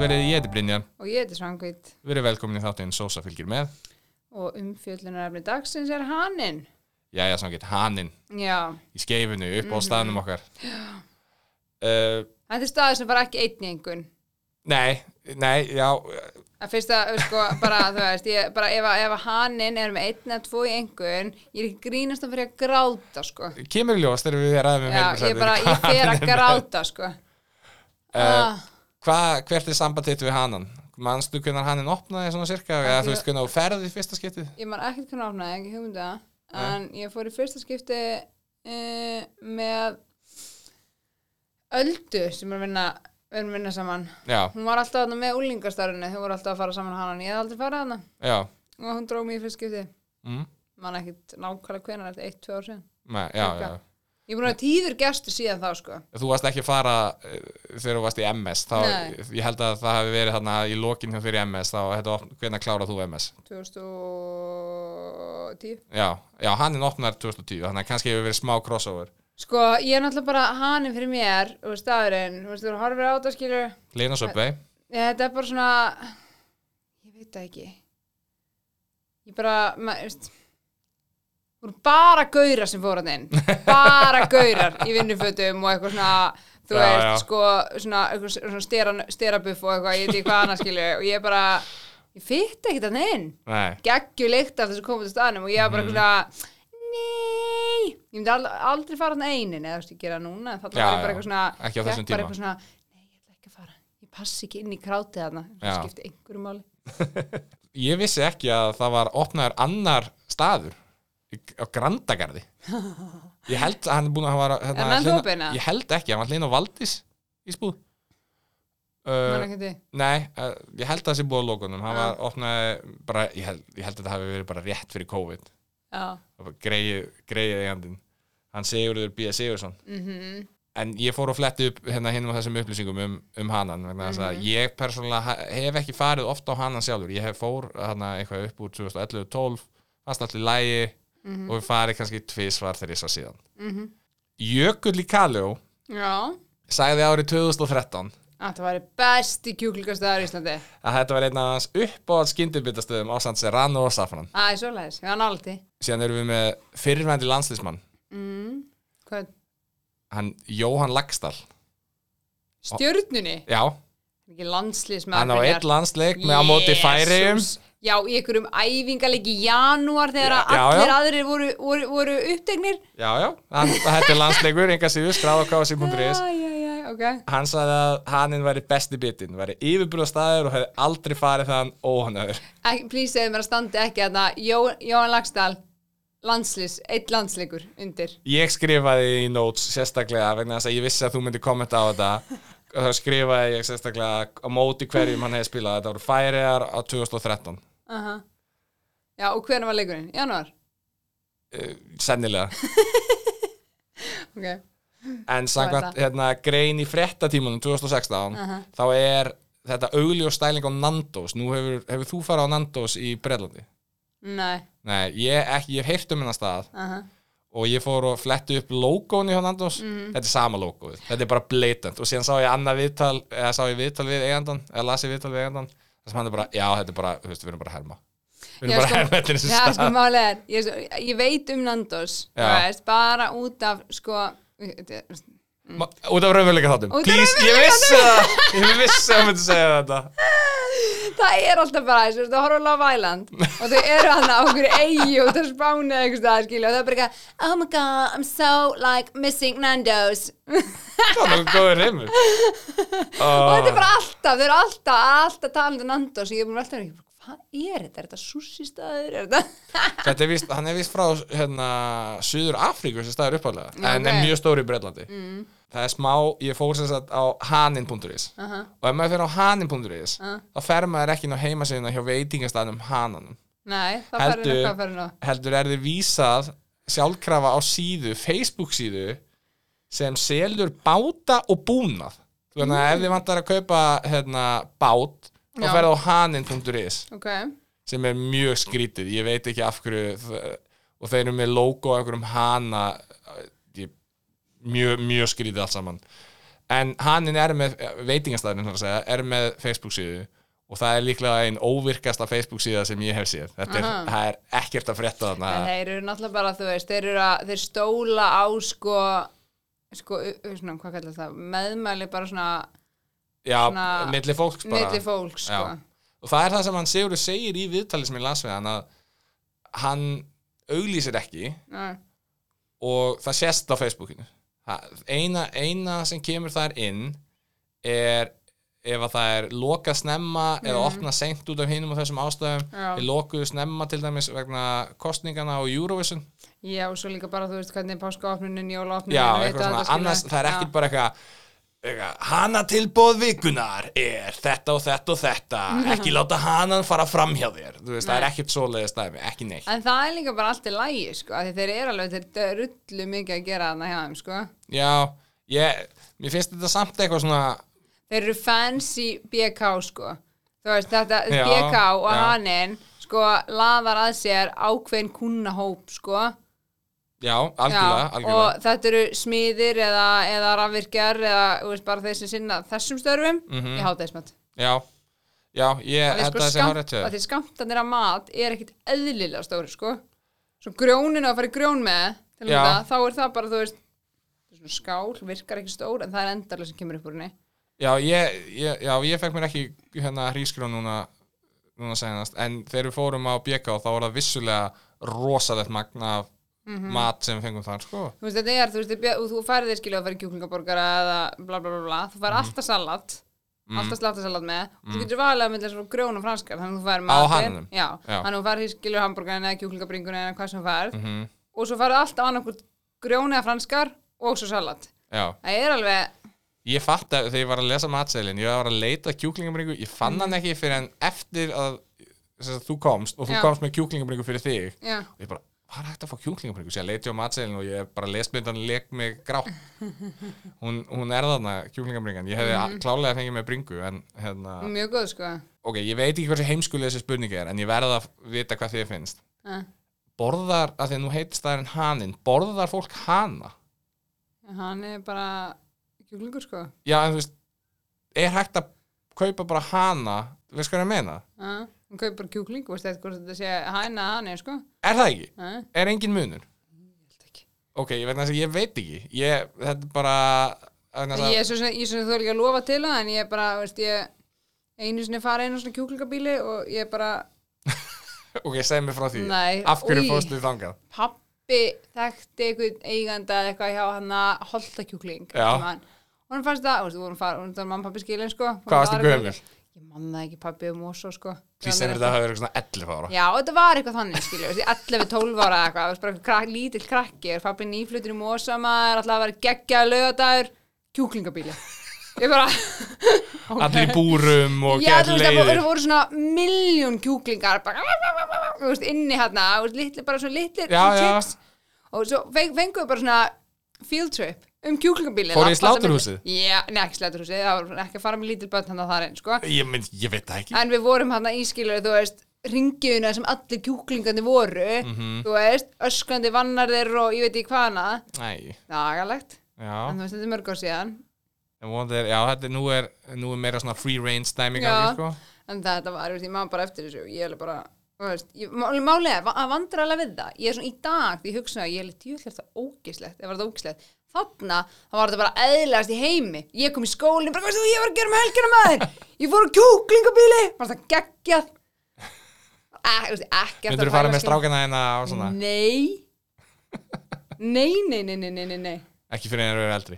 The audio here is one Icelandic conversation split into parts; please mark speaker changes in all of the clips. Speaker 1: verið, ég heiti Brynjar,
Speaker 2: og ég heiti Svangvít
Speaker 1: verið velkomin í þáttinn Sosa fylgir með,
Speaker 2: og umfjöllunarefni dagsins er hanninn.
Speaker 1: jæja samkvæmt hanninn
Speaker 2: Já,
Speaker 1: í skeifinu upp
Speaker 2: Mhm.
Speaker 1: á staðnum okkar. Uh,
Speaker 2: þetta er staður sem var ekki einn í einhvern.
Speaker 1: nei, nei, já, eh,
Speaker 2: Að fyrst að, sko, bara, þú veist, ég, bara ef, að- ef að hanninn er með einn eða tvo í einhvern, ég er ekki grínast að fyrir að gráta, sko.
Speaker 1: kemur í ljós þegar við ræðum um
Speaker 2: Já, ég bara, ég fer að gráta, sko.
Speaker 1: Uh, hvað, hvert er samband þitt við hannan? Manstu hvernig hanninn opnaði svona cirka, eða þú veist hvernig þú ferði í fyrsta skiptið?
Speaker 2: Ég man ekkert hvernig opnaði, ekki hugmyndu það. En ég fór í fyrsta skipti uh, með Öldu sem er að vinna, við erum að vinna saman.
Speaker 1: Já,
Speaker 2: Hún var alltaf þarna með úlingastarunni, þau voru alltaf að fara saman á hanan. Ég hef aldrei farið þarna
Speaker 1: já,
Speaker 2: og hún dróð mér í fyrst skipti.
Speaker 1: mm,
Speaker 2: Man ekkert nákvæmlega hvenar, þetta er eitt, tvö ár síðan.
Speaker 1: nei, já, já, já.
Speaker 2: Cirka. Ég er búin að vera tíður gestur síðan þá, sko.
Speaker 1: Þú varst ekki að fara eh, þegar þú varst í MS, þá,
Speaker 2: Nei.
Speaker 1: ég held að það hafi verið þarna í lokin hjá þér í MS, þá þetta opn- hvenær klárað þú MS?
Speaker 2: 2010.
Speaker 1: Já, já, hanninn opnar 2010, þannig að kannski hefur verið smá crossover.
Speaker 2: Sko, ég er náttúrulega bara hanin fyrir mér og staðurinn. Þú veist, þú eru horfir á þetta, skilur.
Speaker 1: Lina Söpvei,
Speaker 2: Ég, þetta er bara svona, ég veit það ekki. Ég bara, maður, þú veist, voru bara gaurar sem fór hann inn. Bara gaurar í vinnufötum og eitthvað svona, þú
Speaker 1: Já,
Speaker 2: veist,
Speaker 1: já.
Speaker 2: sko, svona, eitthvað svona stera, sterabuff og eitthvað, ég veit ekki hvað annað skilju. Og ég bara, ég fytti ekkert hann inn.
Speaker 1: nei,
Speaker 2: geggju lykt af þessu komandi staðnum og ég var bara
Speaker 1: Mhm.
Speaker 2: eitthvað svona nei, ég myndi ald- aldrei fara þannig einin eða þú veist ég gera það núna en þannig
Speaker 1: Já,
Speaker 2: var ég bara
Speaker 1: já.
Speaker 2: eitthvað svona
Speaker 1: Ekki á
Speaker 2: gekk
Speaker 1: þessum
Speaker 2: bara
Speaker 1: tíma.
Speaker 2: eitthvað svona, nei, ég ætla ekki að fara ég passi ekki inn í krátið þarna
Speaker 1: Já.
Speaker 2: það skipti einhverju máli
Speaker 1: ég vissi ekki að það var opnaður annar staður í- á Grandagarði. Ég held að hann er búin að hafa... hérna,
Speaker 2: Er hann
Speaker 1: hlýna-
Speaker 2: opinn, eða?
Speaker 1: Ég held ekki, hann var hlinn á Valdís í spúð.
Speaker 2: Man
Speaker 1: Uh,
Speaker 2: ekki eftir því.
Speaker 1: nei, uh, ég held að það sé búið á lokunum. Hann
Speaker 2: Já.
Speaker 1: var opnaði bara, ég held, ég held að þetta hafi verið bara rétt fyrir COVID.
Speaker 2: Já.
Speaker 1: Það var Greið, greið eigandinn. Hann Sigurður B. Sigursson.
Speaker 2: Mhm.
Speaker 1: en ég fór að fletti upp hérna hinnum á þessum upplýsingum um, um hanan vegna þess að ég persónulega ha- hef ekki farið oft á hanan sjálfur, ég hef fór hana, eitthvað upp úr 2011-12 fast allir lægi og við farið kannski tvisvar þegar ég sá síðan
Speaker 2: Mhm.
Speaker 1: Jökull í Kaljó
Speaker 2: já
Speaker 1: sagði árið 2013
Speaker 2: að það væri besti kjúklingastæður í Íslandi
Speaker 1: að þetta var einn af hans uppáhald skyndibindastöðum á San Serrano og Safran
Speaker 2: Æ, svoleiðis, ég var náldi
Speaker 1: síðan erum við með fyrirvændi landslísmann
Speaker 2: mm. Hvað?
Speaker 1: hann Jóhann Lagstall
Speaker 2: Stjörnunni?
Speaker 1: já,
Speaker 2: Ekki landslýsmaður
Speaker 1: hann á einn landsleik með á móti færiðum
Speaker 2: Jesus. Já, í einhverjum æfingarleik í janúar þegar
Speaker 1: Já, já,
Speaker 2: allir
Speaker 1: já.
Speaker 2: aðrir voru, voru, voru upptegnir.
Speaker 1: Já, já, hann, þetta er landsleikur, enga síðu, skráð á kfc.is.
Speaker 2: Æ, æ, æ, ok.
Speaker 1: Hann sagði að hanninn væri besti bitinn, væri yfirbrúðastæður og hefði aldrei farið þann óhannaður.
Speaker 2: Ek, please segðu mér að standi ekki að það Jó, Jóhann Lagstall, landslýs, eitt landsleikur undir.
Speaker 1: Ég skrifaði í notes sérstaklega vegna þess að ég vissi að þú myndi kommenta á þetta. Og þá skrifaði ég sérstaklega á móti hverjum hann hefði spilað. Þetta voru færiðar á 2013,
Speaker 2: Aha. Já, og hvernig var leikurinn? Janúar?
Speaker 1: Eh, sennilega.
Speaker 2: Ok.
Speaker 1: En samkvæmt
Speaker 2: þetta.
Speaker 1: hérna, grein í frettatímanum 2016, þá er þetta augljós stæling á Nandos. Nú hefur, hefur þú farið á Nandos í Breitlandi?
Speaker 2: Nei.
Speaker 1: Nei, ég, ekki, ég hef heyrt um hennar stað
Speaker 2: Aha.
Speaker 1: og ég fór og fletti upp logoinu hjá Nandos,
Speaker 2: Mhm.
Speaker 1: þetta er sama logoið þetta er bara blatant og síðan sá ég annað viðtal, eða sá ég viðtal við eigandan eða las ég viðtal við eigandan, þess að hann er bara já, þetta er bara, þú veist, við erum bara að herma við erum
Speaker 2: Já,
Speaker 1: bara að
Speaker 2: sko-
Speaker 1: herma eftir þessu
Speaker 2: Já,
Speaker 1: stað
Speaker 2: sko, málið er, ég, er svo- ég veit um Nandos,
Speaker 1: Já.
Speaker 2: þú veist, bara út af, sko, þetta er-
Speaker 1: Ma- út af raunveruleika þáttum,
Speaker 2: Út af
Speaker 1: please, ég vissi það ég vissi að hann myndi segja þetta
Speaker 2: Það er alltaf bara þessu, þú veist, að horfa á Love Island og þau eru hann á okkur eigi út á spáni eða einhvers staðar, skilja, og það er bara eitthvað, oh my god, I'm so like missing Nando's.
Speaker 1: það er nokkuð góður reymur
Speaker 2: Og þetta er bara
Speaker 1: Ah.
Speaker 2: alltaf, þau eru alltaf, alltaf talandi um Nando's og ég er búin að velta hérna, hvað er þetta, er þetta sushi-staður, er þetta?
Speaker 1: Þetta er víst, hann er víst frá hérna, Suður Afríku sem staðar uppálega
Speaker 2: Já,
Speaker 1: en
Speaker 2: ok. Mm.
Speaker 1: er mjög stóri í Breitlandi Það er smá, ég fór sem sagt á hanin.is
Speaker 2: Aha.
Speaker 1: og ef maður fer á hanin.is
Speaker 2: Ah.
Speaker 1: þá fer maður ekki inn á heimasíðuna hjá veitingastæðnum hananum
Speaker 2: Nei, það færði
Speaker 1: heldur,
Speaker 2: nokkuð að færði nokkuð.
Speaker 1: heldur er þið vísað sjálfkrafa á síðu, Facebook síðu sem selur báta og búnað Þannig að ef þið vantar að kaupa hérna, bát þá
Speaker 2: Mm. Já.
Speaker 1: ferðu á hanin.is
Speaker 2: Ok,
Speaker 1: sem er mjög skrítið ég veit ekki af hverju þ- og þeir eru með logo af einhverjum hana ég, mjög, mjög skrítið allt saman en hann er með veitingastæðin segja, er með Facebook síðu og það er líklega einn óvirkasta Facebook síða sem ég hef séð þetta er,
Speaker 2: Aha.
Speaker 1: það er ekkert að frétta þarna
Speaker 2: En þeir eru náttúrulega bara, þú veist, þeir, eru að, þeir stóla á sko, sko, u- u- svona, hvað kallar það, meðmæli bara svona
Speaker 1: já,
Speaker 2: svona-
Speaker 1: milli fólks bara
Speaker 2: milli fólks, sko.
Speaker 1: Já. og það er það sem hann Sigurður segir í viðtali sem ég las við hann að hann auglýsir ekki
Speaker 2: Já.
Speaker 1: og það sést á Facebookinu Það- eina, eina sem kemur þar inn er ef að það er lokað snemma eða opnað seint út af hinum og þessum ástæðum
Speaker 2: Mhm. Já.
Speaker 1: þeir lokuðu snemma til dæmis vegna kostningana á Eurovision
Speaker 2: Já, og svo líka bara, þú veist, hvernig páskaopnunin, jólaopnunin,
Speaker 1: já,
Speaker 2: veit
Speaker 1: eitthvað
Speaker 2: að
Speaker 1: svona,
Speaker 2: þetta skilur.
Speaker 1: annars það er
Speaker 2: Já.
Speaker 1: ekkert bara eitthvað eitthvað, hana tilbóð vikunar er þetta og þetta og þetta
Speaker 2: Mhm.
Speaker 1: ekki láta hanan fara fram hjá þér Þú veist, það er ekkert svoleiðis dæmi, ekki neitt
Speaker 2: En það er líka bara allt í lægi, sko, af því þeir eru alveg, þeir rullu mikið að gera þarna hjá þeim, sko.
Speaker 1: já, ég, mér finnst þetta samt eitthvað svona
Speaker 2: Þeir eru fancy BK, sko. Þú veist, þetta
Speaker 1: Já,
Speaker 2: BK og
Speaker 1: já.
Speaker 2: haninn, sko, laðar að sér ákveðin kunnahóp, sko.
Speaker 1: já, algjörlega,
Speaker 2: Já,
Speaker 1: algjörlega.
Speaker 2: Og þetta eru smiðir eða, eða rafvirkjar eða, þú veist, bara þeir sem sinna þessum störfum
Speaker 1: Mhm.
Speaker 2: í hátæðismat.
Speaker 1: já, já, ég
Speaker 2: Það er
Speaker 1: held
Speaker 2: sko
Speaker 1: að þessi
Speaker 2: skamt,
Speaker 1: hárættu
Speaker 2: að því skamtanir af mat er ekkit eðlilega stóri, sko. Svo grjónin á að fara í grjón með, til
Speaker 1: Já.
Speaker 2: að þá er það bara, þú veist, svona skál, virkar ekki stór, en það er endarlega sem kemur upp úr henni.
Speaker 1: já, ég, ég, já, ég fekk mér ekki hérna hrískrón núna núna senast, en þegar við fórum á BK þá var það vissulega rosalegt magn af
Speaker 2: Mhm.
Speaker 1: mat sem við fengum þar, sko
Speaker 2: Þú veist, þetta er, þú veist, bjö- og þú færið þér skilja að fara í kjúklingaborgara eða bla bla bla bla,
Speaker 1: Mm.
Speaker 2: þú færið alltaf salat, alltaf sláttasalat með, og þú getur valið að mynda svona grjón og franskar, þannig að þú færið
Speaker 1: Á
Speaker 2: matinn.
Speaker 1: handinum?
Speaker 2: Já,
Speaker 1: Já.
Speaker 2: þannig að þú færið skilja hambúrgarinn eða kjúklingabringuna eða hvað sem þú færið,
Speaker 1: Mhm,
Speaker 2: og svo færið alltaf annarkur grjón eða franskar og svo salat.
Speaker 1: já
Speaker 2: Það er alveg,
Speaker 1: Ég fatt að þegar ég var að lesa matseðlin ég var að leita að kjúklingabringu ég fann hann ekki fyrir en eftir að, sem sagt, þú komst og þú
Speaker 2: Mhm. Já.
Speaker 1: komst með kjúklingabringu fyrir þig
Speaker 2: já,
Speaker 1: og ég bara, hvað er hægt að fá kjúklingabringu sér leiti á matseðlin og ég bara lesmyndan leik mig grátt hún, hún er þarna kjúklingabringan ég hefði mm. klálega fengið með bringu en hérna,
Speaker 2: mjög góð sko.
Speaker 1: ok, ég veit ekki hversu heimskulega þessi spurningi er en ég verð að vita hvað þið finnst
Speaker 2: Uh,
Speaker 1: borðar, af því að nú heitist það en hanin borðar fólk hana
Speaker 2: hann er bara kjúklingur sko.
Speaker 1: já, en þú veist, er hægt að kaupa bara hana, þú veist hvað ég meina
Speaker 2: Uh, hann kaupir bara kjúkling, veist þetta hvort þetta sé hæna að hann er sko.
Speaker 1: Er það ekki?
Speaker 2: Uh,
Speaker 1: Er engin munur? Ok, ég veit, ég veit ekki ég, Þetta er bara vegna þess að-
Speaker 2: Ég er svo sem, ég er svo sem þú er ekki að lofa til það en ég er bara, veist, ég einu sinni fara einu svona kjúklingabíli og ég bara,
Speaker 1: Ok, segð mér frá því
Speaker 2: Nei,
Speaker 1: Af hverju
Speaker 2: új.
Speaker 1: fórstu þangað?
Speaker 2: pappi þekkti einhvern eiganda eða eitthvað hjá hann að holta kjúkling
Speaker 1: Já.
Speaker 2: og hann fannst það, veist, vorum fara, vorum það mamma pappi skilin sko Vorum
Speaker 1: Hvað varstu
Speaker 2: aðra-
Speaker 1: gömul?
Speaker 2: Ég man það ekki pappi um osso sko
Speaker 1: Því sem þetta hafa verið svona 11 ára
Speaker 2: Já, þetta var eitthvað þannig, skilju, 11-12 ára eða eitthvað, það var bara krak, lítill krakki, er pappin íflutur í Mósamaður, alltaf að vera geggjaða lögadagur, kjúklingabíli. Ég bara, ok.
Speaker 1: Allir í búrum og
Speaker 2: Já,
Speaker 1: gerð
Speaker 2: þú veist, það voru,
Speaker 1: leiðir
Speaker 2: voru svona miljón kjúklingar bara, þú veist, inni hérna þú veist, litli, bara svona litli
Speaker 1: Já, já.
Speaker 2: chips og svo feng, fengum við bara svona field trip um kjúklingabílinn
Speaker 1: Fóruð í
Speaker 2: Alla sem-
Speaker 1: sláturhúsið?
Speaker 2: Já, nei, ekki sláturhúsið, það var ekki að fara með lítil börn hann að það einn, sko
Speaker 1: Ég, mynd, ég veit það ekki
Speaker 2: en við vorum hann að ískilur, þú veist ringiðuna sem allir kjúklingandi voru
Speaker 1: Mhm.
Speaker 2: þú veist, öskrandi vannar þeir og ég veit ekki hvað hana
Speaker 1: Nei,
Speaker 2: nagalegt, en
Speaker 1: já,
Speaker 2: þú veist, þetta er mörg ár síðan
Speaker 1: En von er, já þetta, er- nú, er, nú er meira svona free range stæming
Speaker 2: Já.
Speaker 1: gangi, sko.
Speaker 2: en þetta var, veist, ég maður bara eftir þessu ég er alveg bara, þú veist, ég, máli, máli er að vandra alveg við það, ég er svona í dag því ég hugsa að ég er litið jöllert það ógislegt ef var þetta ógislegt, þarna þá var þetta bara eðlægast í heimi, ég kom í skólinn bara, hvað veist þú, ég var að gera með helgina maður ég fór á kjúklingabíli, var þetta geggjað Eh, þú veist, ekkert
Speaker 1: Myndirðu
Speaker 2: að
Speaker 1: fara
Speaker 2: pæla,
Speaker 1: með
Speaker 2: skilur.
Speaker 1: strákana hérna og svona
Speaker 2: Mm. Nei Nei, nei, nei, nei, nei, nei, nei
Speaker 1: Ekki fyrir þeir eru eldri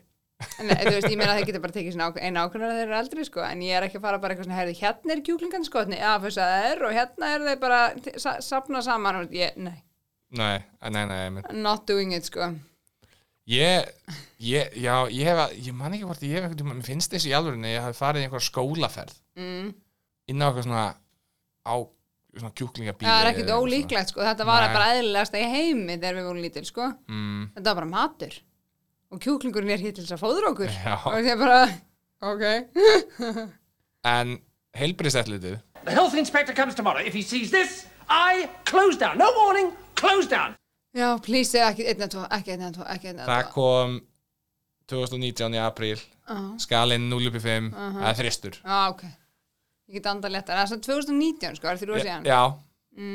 Speaker 2: En eh, þú veist, ég meina að þeir geta bara tekið svona ák- eina ákvörðan þeir eru eldri, sko, en ég er ekki að fara bara eitthvað svona, heyrðu, hérna er kjúklingan skotni, já, fyrst að það er og hérna er þeir bara t- sa sapna saman og ég, nei,
Speaker 1: Nei, nei, nei, nei
Speaker 2: not doing it, sko
Speaker 1: Ég, ég, já, ég hef að, ég man ekki hvort ég hef einhvern tímann, mér finnst þessi í alvörinni, ég hafi farið í einhver skólaferð
Speaker 2: mm.
Speaker 1: inn á eitthvað svona, á svona kjúklingabíli.
Speaker 2: Það er ekkit
Speaker 1: eða eitthvað
Speaker 2: ólíklegt, sko, þetta var
Speaker 1: Nei.
Speaker 2: bara eðlilegast í heimi þegar við vorum lítil, sko
Speaker 1: svona. Mm,
Speaker 2: Þetta var bara matur og kjúklingurinn er hér til þess að fóður okkur
Speaker 1: já,
Speaker 2: og ég bara, ok
Speaker 1: en heilbriðsætlitið,
Speaker 3: The health inspector comes tomorrow. If he sees this, I close down. No warning, close down.
Speaker 2: Já, please, ekki einn að tvo, ekki einn að tvo, ekki einn að
Speaker 1: það kom 2019 í apríl
Speaker 2: Já.
Speaker 1: skalinn 0 upp í 5 það er þristur
Speaker 2: Já, Ah, ok. Ég get andað léttar. Það er svona 2019, sko, það er þrjú að síðan.
Speaker 1: já,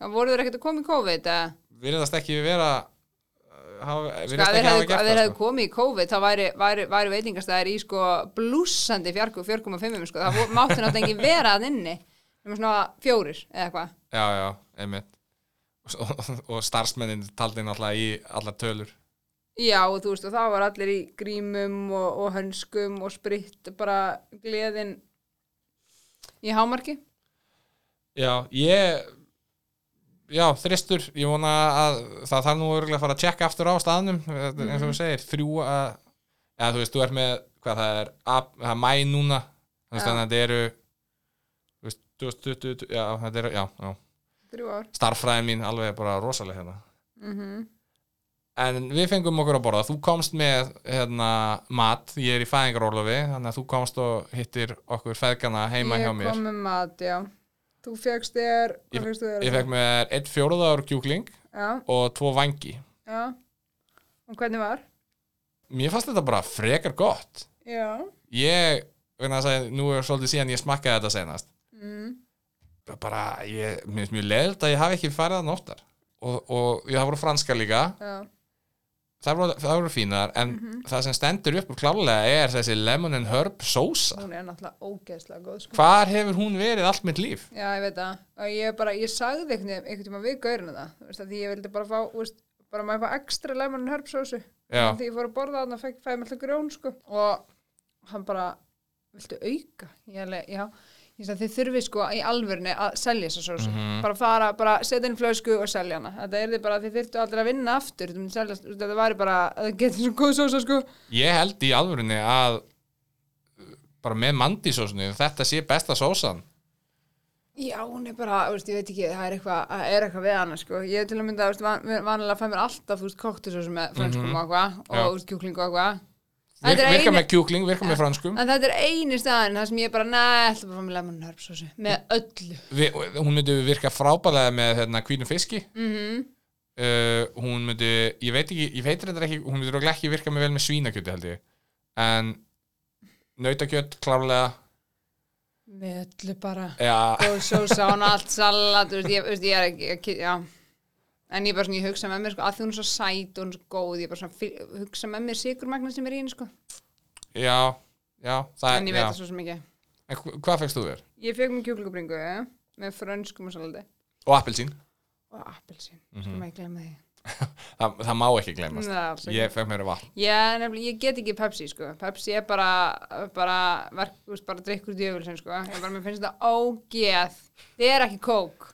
Speaker 2: Það voru þeir ekkert að koma í COVID, eða?
Speaker 1: virðast ekki vera uh, hafa, virðast
Speaker 2: Sko, að þeir
Speaker 1: ekki hafa
Speaker 2: hefðu,
Speaker 1: gert
Speaker 2: að þeir
Speaker 1: það
Speaker 2: hefðu
Speaker 1: sko.
Speaker 2: komið í COVID, þá væri, væri, væri veitingastæðir í, sko, blúsandi 4,5, sko. Það vo- mátti náttúrulega engin vera að inni. Nefnum svona fjórir, eða hvað.
Speaker 1: já, já, einmitt og, og, og starfsmennin taldi náttúrulega í allar tölur
Speaker 2: Já, og þú veist, og það var allir í grímum og, og hönskum og spritt, bara gleðin í hámarki.
Speaker 1: já, ég já, þristur, ég vona að það þarf nú örgulega að fara að tjekka aftur á staðnum eh, eins og þú segir, þrjú að eða þú veist, þú ert með, hvað það er ap, það er mæ núna, þannig að þetta eru þú veist, 2020 já, þetta eru, já, já
Speaker 2: Þrjú ár.
Speaker 1: starffræðin mín alveg bara rosaleg hérna en við fengum okkur að borða þú komst með hérna, mat ég er í fæðingarólofi þannig að þú komst og hittir okkur feðgana heima hjá mér
Speaker 2: Ég kom með mat, já. Þú fegst þér, hvað fegst þú þér?
Speaker 1: ég fekk með eitt fjóruðaður kjúkling
Speaker 2: Já,
Speaker 1: og tvo vangi
Speaker 2: já. Og hvernig var?
Speaker 1: mér fannst þetta bara frekar gott
Speaker 2: Já.
Speaker 1: ég, vegna þess að nú er svolítið síðan ég smakkaði þetta senast mm. bara, ég, mér finnst mjög leðilt að ég hafi ekki farið að nóttar og, og ég hafa voru franska líka
Speaker 2: Já.
Speaker 1: það voru, það voru fínar en
Speaker 2: Mhm.
Speaker 1: það sem stendur upp úr klálega er þessi lemon and herb sósa
Speaker 2: Hún er náttúrulega ógeðslega góð, sko.
Speaker 1: hvar hefur hún verið allt mitt líf
Speaker 2: Já, ég veit það. Og ég bara, ég sagði einhvern veginn, einhvern tímann við gaurinu það. Þú veist, að því ég vildi bara fá, þú veist, bara maður fá ekstra lemon and herb sósu.
Speaker 1: Já.
Speaker 2: Því ég fór að borða þarna, fæ, fæði mér alltaf grjón, sko. Og hann bara, viltu auka? Ég alveg, já. Ég sagði, þið þurfið sko í alvörni að selja þessa sósu. Bara fara, bara setja inn flösku og selja hana. Þetta er þið bara, þið þyrftu aldrei að vinna aftur. Þú myndir selja- þú veist, Þetta væri bara, það getur svo góð sósa, sko.
Speaker 1: ég held í alvörunni að uh, bara með mandisósunni þetta sé besta sósan
Speaker 2: Já, hún er bara, þú veist, ég veit ekki, það er eitthvað, það er eitthvað við hana, sko. Ég er til að mynda, þú veist, van, vanilega fæ mér alltaf, þú veist, koktisósu með frönskum og eitthvað, og,
Speaker 1: Mhm. Já.
Speaker 2: þú veist, kjúkling og eitthvað.
Speaker 1: Vir,
Speaker 2: Þetta er
Speaker 1: virka
Speaker 2: eini-
Speaker 1: með kjúkling, virka með franskum
Speaker 2: En þetta er eini staðan þar sem ég bara, neða, ætla bara að fá mér lemon herbsósu, með öllu.
Speaker 1: Vi, hún myndi virka frábælega með hérna, kvínum fiski mm
Speaker 2: Mhm.
Speaker 1: -hmm. uh, hún myndi, ég veit ekki, ég veit reyndar ekki hún myndi örugglega ekki virka með vel með svínakjöti held ég en nautakjött klárlega
Speaker 2: Með öllu bara.
Speaker 1: já,
Speaker 2: Og sósa, hún allt salat, þú veist, ég, þú veist, ég er ekki, ekki, já. En ég bara svona, ég hugsa með mér, sko, að því hún er svo sæt og hún er svo góð, ég bara svona, fyl- hugsa með mér sigurmagna sem er í henni, sko.
Speaker 1: já, já, það,
Speaker 2: En ég veit
Speaker 1: já.
Speaker 2: það svo sem ekki.
Speaker 1: En hv- hvað fegst þú þér?
Speaker 2: Ég fekk mér kjúklingabringu, eh, með frönskum og salati.
Speaker 1: Og appelsín?
Speaker 2: og appelsín, mm -hmm. ég glemma því
Speaker 1: Þa, það má ekki glemast.
Speaker 2: Nei, alls ekki.
Speaker 1: Ég fekk mér vatn.
Speaker 2: ég, nefnilega, ég get ekki Pepsi sko Pepsi er bara, bara verk, þú veist, bara drikkur djöfulsinn sko ég bara, mér finnst það ógeð þið er ekki kók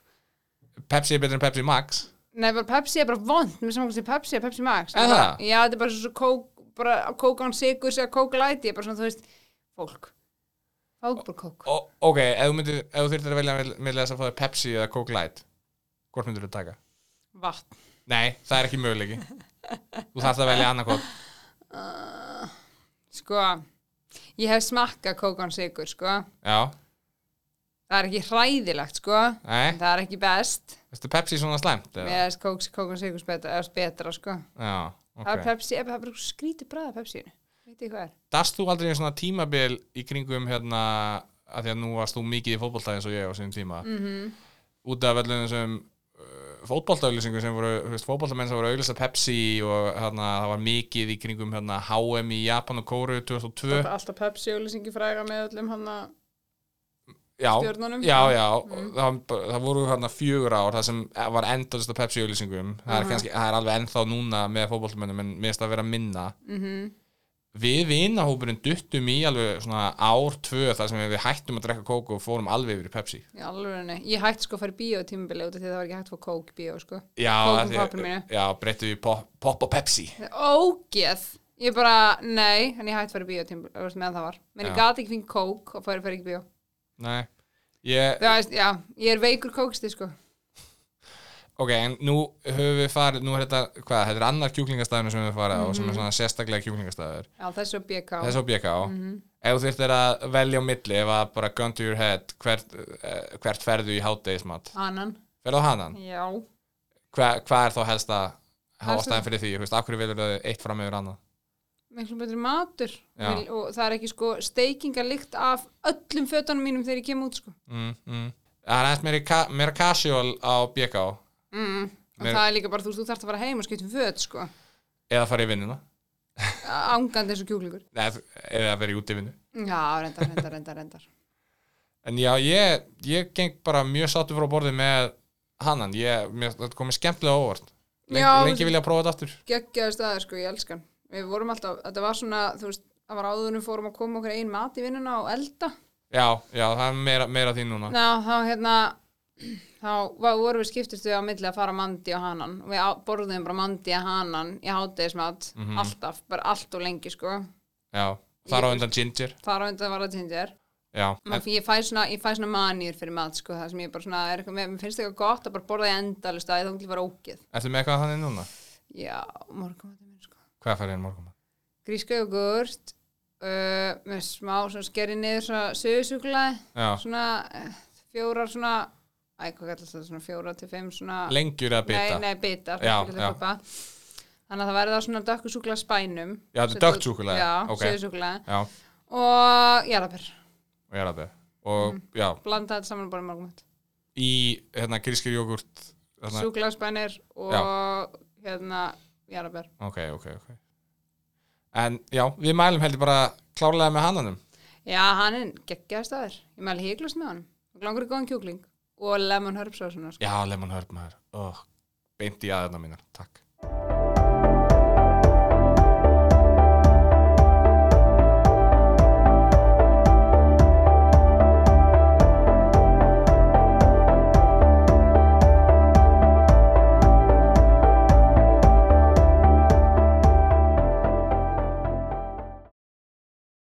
Speaker 1: Pepsi er betur en Pepsi Max.
Speaker 2: Nei, bara Pepsi er bara vond, mér saman hvað sem Pepsi er Pepsi Max
Speaker 1: Er
Speaker 2: Bara-
Speaker 1: það?
Speaker 2: Já, þetta er bara svo, svo kók, bara kók án sigur eða kók læti, ég er bara svona, þú veist fólk, fólk bara kók
Speaker 1: O, ok, ef þú, myndir, ef þú þurftir að velja mill- milli þess að fá þér Pepsi eða Coke Light, hvort myndir þú taka?
Speaker 2: vatn,
Speaker 1: Nei, það er ekki möguleiki. þú þarfst að velja annað hvort.
Speaker 2: sko ég hef smakkað kók án sigur sko
Speaker 1: Já,
Speaker 2: það er ekki hræðilegt sko
Speaker 1: Nei.
Speaker 2: en það er ekki best
Speaker 1: veistu Pepsi svona slæmt? eða?
Speaker 2: Mér finnst kóks, kók og sigurs betra, eða betra sko.
Speaker 1: Já,
Speaker 2: Það er
Speaker 1: ok.
Speaker 2: Pepsi, eða það er bara skrítið bræða Pepsinu. Veit ég hvað er?
Speaker 1: Dast þú aldrei í svona tímabil í kringum hérna, að því að nú varst þú mikið í fótbolta eins og ég á sinni tíma. Mm -hmm.
Speaker 2: Mhm.
Speaker 1: Út af öllum þessum fótboltaauðlýsingu sem voru, þú veist, fótboltamenn sem voru auðlýsa Pepsi og hérna, það var mikið í kringum hérna, HM í Japan og Kóru 2002
Speaker 2: Alltaf Pepsi og lýsingi fræga með öllum hann að...
Speaker 1: já,
Speaker 2: stjörnunum.
Speaker 1: já, já, mm. það, það voru hérna fjögur ár það sem var endalist af Pepsi auðlýsingum það, er kannski, það er alveg ennþá núna með fótboltamennum en mér finnst það vera minna -hmm.
Speaker 2: Mhm.
Speaker 1: við vinahópurinn duttum í alveg svona ár tvö þar sem við hættum að drekka kók og fórum alveg yfir í Pepsi
Speaker 2: Já, alveg henni. Ég hætti sko að fara í bíó tímabili út af því að það var ekki hægt að fá kók í bíó sko.
Speaker 1: já,
Speaker 2: Kók
Speaker 1: af
Speaker 2: um
Speaker 1: því-
Speaker 2: pappinu mínu.
Speaker 1: já breyttum við pop, pop og Pepsi
Speaker 2: Það er ógeð. Ég bara, nei, en ég hætti að fara í bíó tímabili meðan það var. Men
Speaker 1: Já.
Speaker 2: ég gati ekki fengið kók og fara, fara ekki í bíó.
Speaker 1: Nei, ég,
Speaker 2: Það veist, já, ég er veikur kóksti sko.
Speaker 1: Ok, en nú höfum við farið, nú er þetta, hvað, þetta er annar kjúklingastæðinu sem við höfum farið
Speaker 2: Mhm.
Speaker 1: á, sem er svona sérstaklega kjúklingastæður,
Speaker 2: Já, þessu og BK.
Speaker 1: þess á BK á, ef þú þyrftir að velja á milli, ef að bara gun to your head, hvert, eh, hvert ferðu í hátdeismat,
Speaker 2: Annan.
Speaker 1: ferðu á hanan,
Speaker 2: Já.
Speaker 1: Hva, hvað er þá helst að hafa
Speaker 2: Helst að-
Speaker 1: stæðin fyrir því, þú veist, af hverju velur þau eitt fram yfir annað?
Speaker 2: miklu betri matur
Speaker 1: Já.
Speaker 2: Vil- og það er ekki sko steikingarlykt af öllum fötunum mínum þegar ég kem út sko.
Speaker 1: mm, mm. Það er aðeins meira, ka- meira casual á BK
Speaker 2: og
Speaker 1: Mér-
Speaker 2: það er líka bara, þú, veist, þú þarft að fara heim og skipta um föt sko,
Speaker 1: eða fara í vinnuna
Speaker 2: ángandi eins og kjúklingur
Speaker 1: Nei, þú- eða að vera í útivinnu
Speaker 2: já, reyndar, reyndar, reyndar, reyndar
Speaker 1: En já, ég, ég geng bara mjög sáttu frá borði með hannan ég, mér, Þetta komið skemmtilega á óvart Lengi,
Speaker 2: Já,
Speaker 1: lengi vilja prófa þetta aftur
Speaker 2: geggjaði staður sko, ég elskan við vorum alltaf, þetta var svona, þú veist það var áðunum fórum að koma okkur einn mat í vinnuna og elda,
Speaker 1: Já, já, það er meira, meira því núna
Speaker 2: ná, þá hérna þá var, vorum við skiptistu á milli að fara á mandi og hanan og við á- borðum bara mandi og hanan í hátegismat
Speaker 1: Mhm.
Speaker 2: alltaf, bara allt og lengi sko
Speaker 1: Já, þar á undan Ginger
Speaker 2: þar á undan var það tindir
Speaker 1: Já, en,
Speaker 2: Man, ég, fæ svona, ég fæ svona manýr fyrir mat sko, það sem ég bara svona, er, eitthvað- mér mér finnst eitthvað gott að bara borða í endalist að það var ógeð
Speaker 1: ertu með eitthvað þannig núna?
Speaker 2: já, morgumatum minn sko
Speaker 1: Hvað fær hérna morgum?
Speaker 2: gríska jogurt uh, með smá svona skerri niður svona söðsuglaði
Speaker 1: Já,
Speaker 2: svona uh, fjórar svona æ, hvað kallast það, svona fjórar til fimm svona
Speaker 1: lengjur eða bita
Speaker 2: nei, nei, bita
Speaker 1: Já, já.
Speaker 2: þannig að það væri það svona dökkusúkla spænum
Speaker 1: Já, þetta er dökkt súkkulaði,
Speaker 2: já,
Speaker 1: ok.
Speaker 2: söðsuglaði
Speaker 1: Já,
Speaker 2: og jarðaber,
Speaker 1: og ég er að það Og
Speaker 2: Mm.
Speaker 1: já,
Speaker 2: blanda þetta saman og bara morgumat
Speaker 1: í hérna grískir jógurt hérna,
Speaker 2: súkla spænir og hérna jarðaber
Speaker 1: Ok, ok, ok En já, við mælum heldur bara klárlega með hannanum
Speaker 2: já, hann er geggjaði staður ég mæli híklust með hann, langur í góðan kjúkling og lemon herbs og svona sko.
Speaker 1: Já, lemon herb maður oh, Beint í aðeina mínar, takk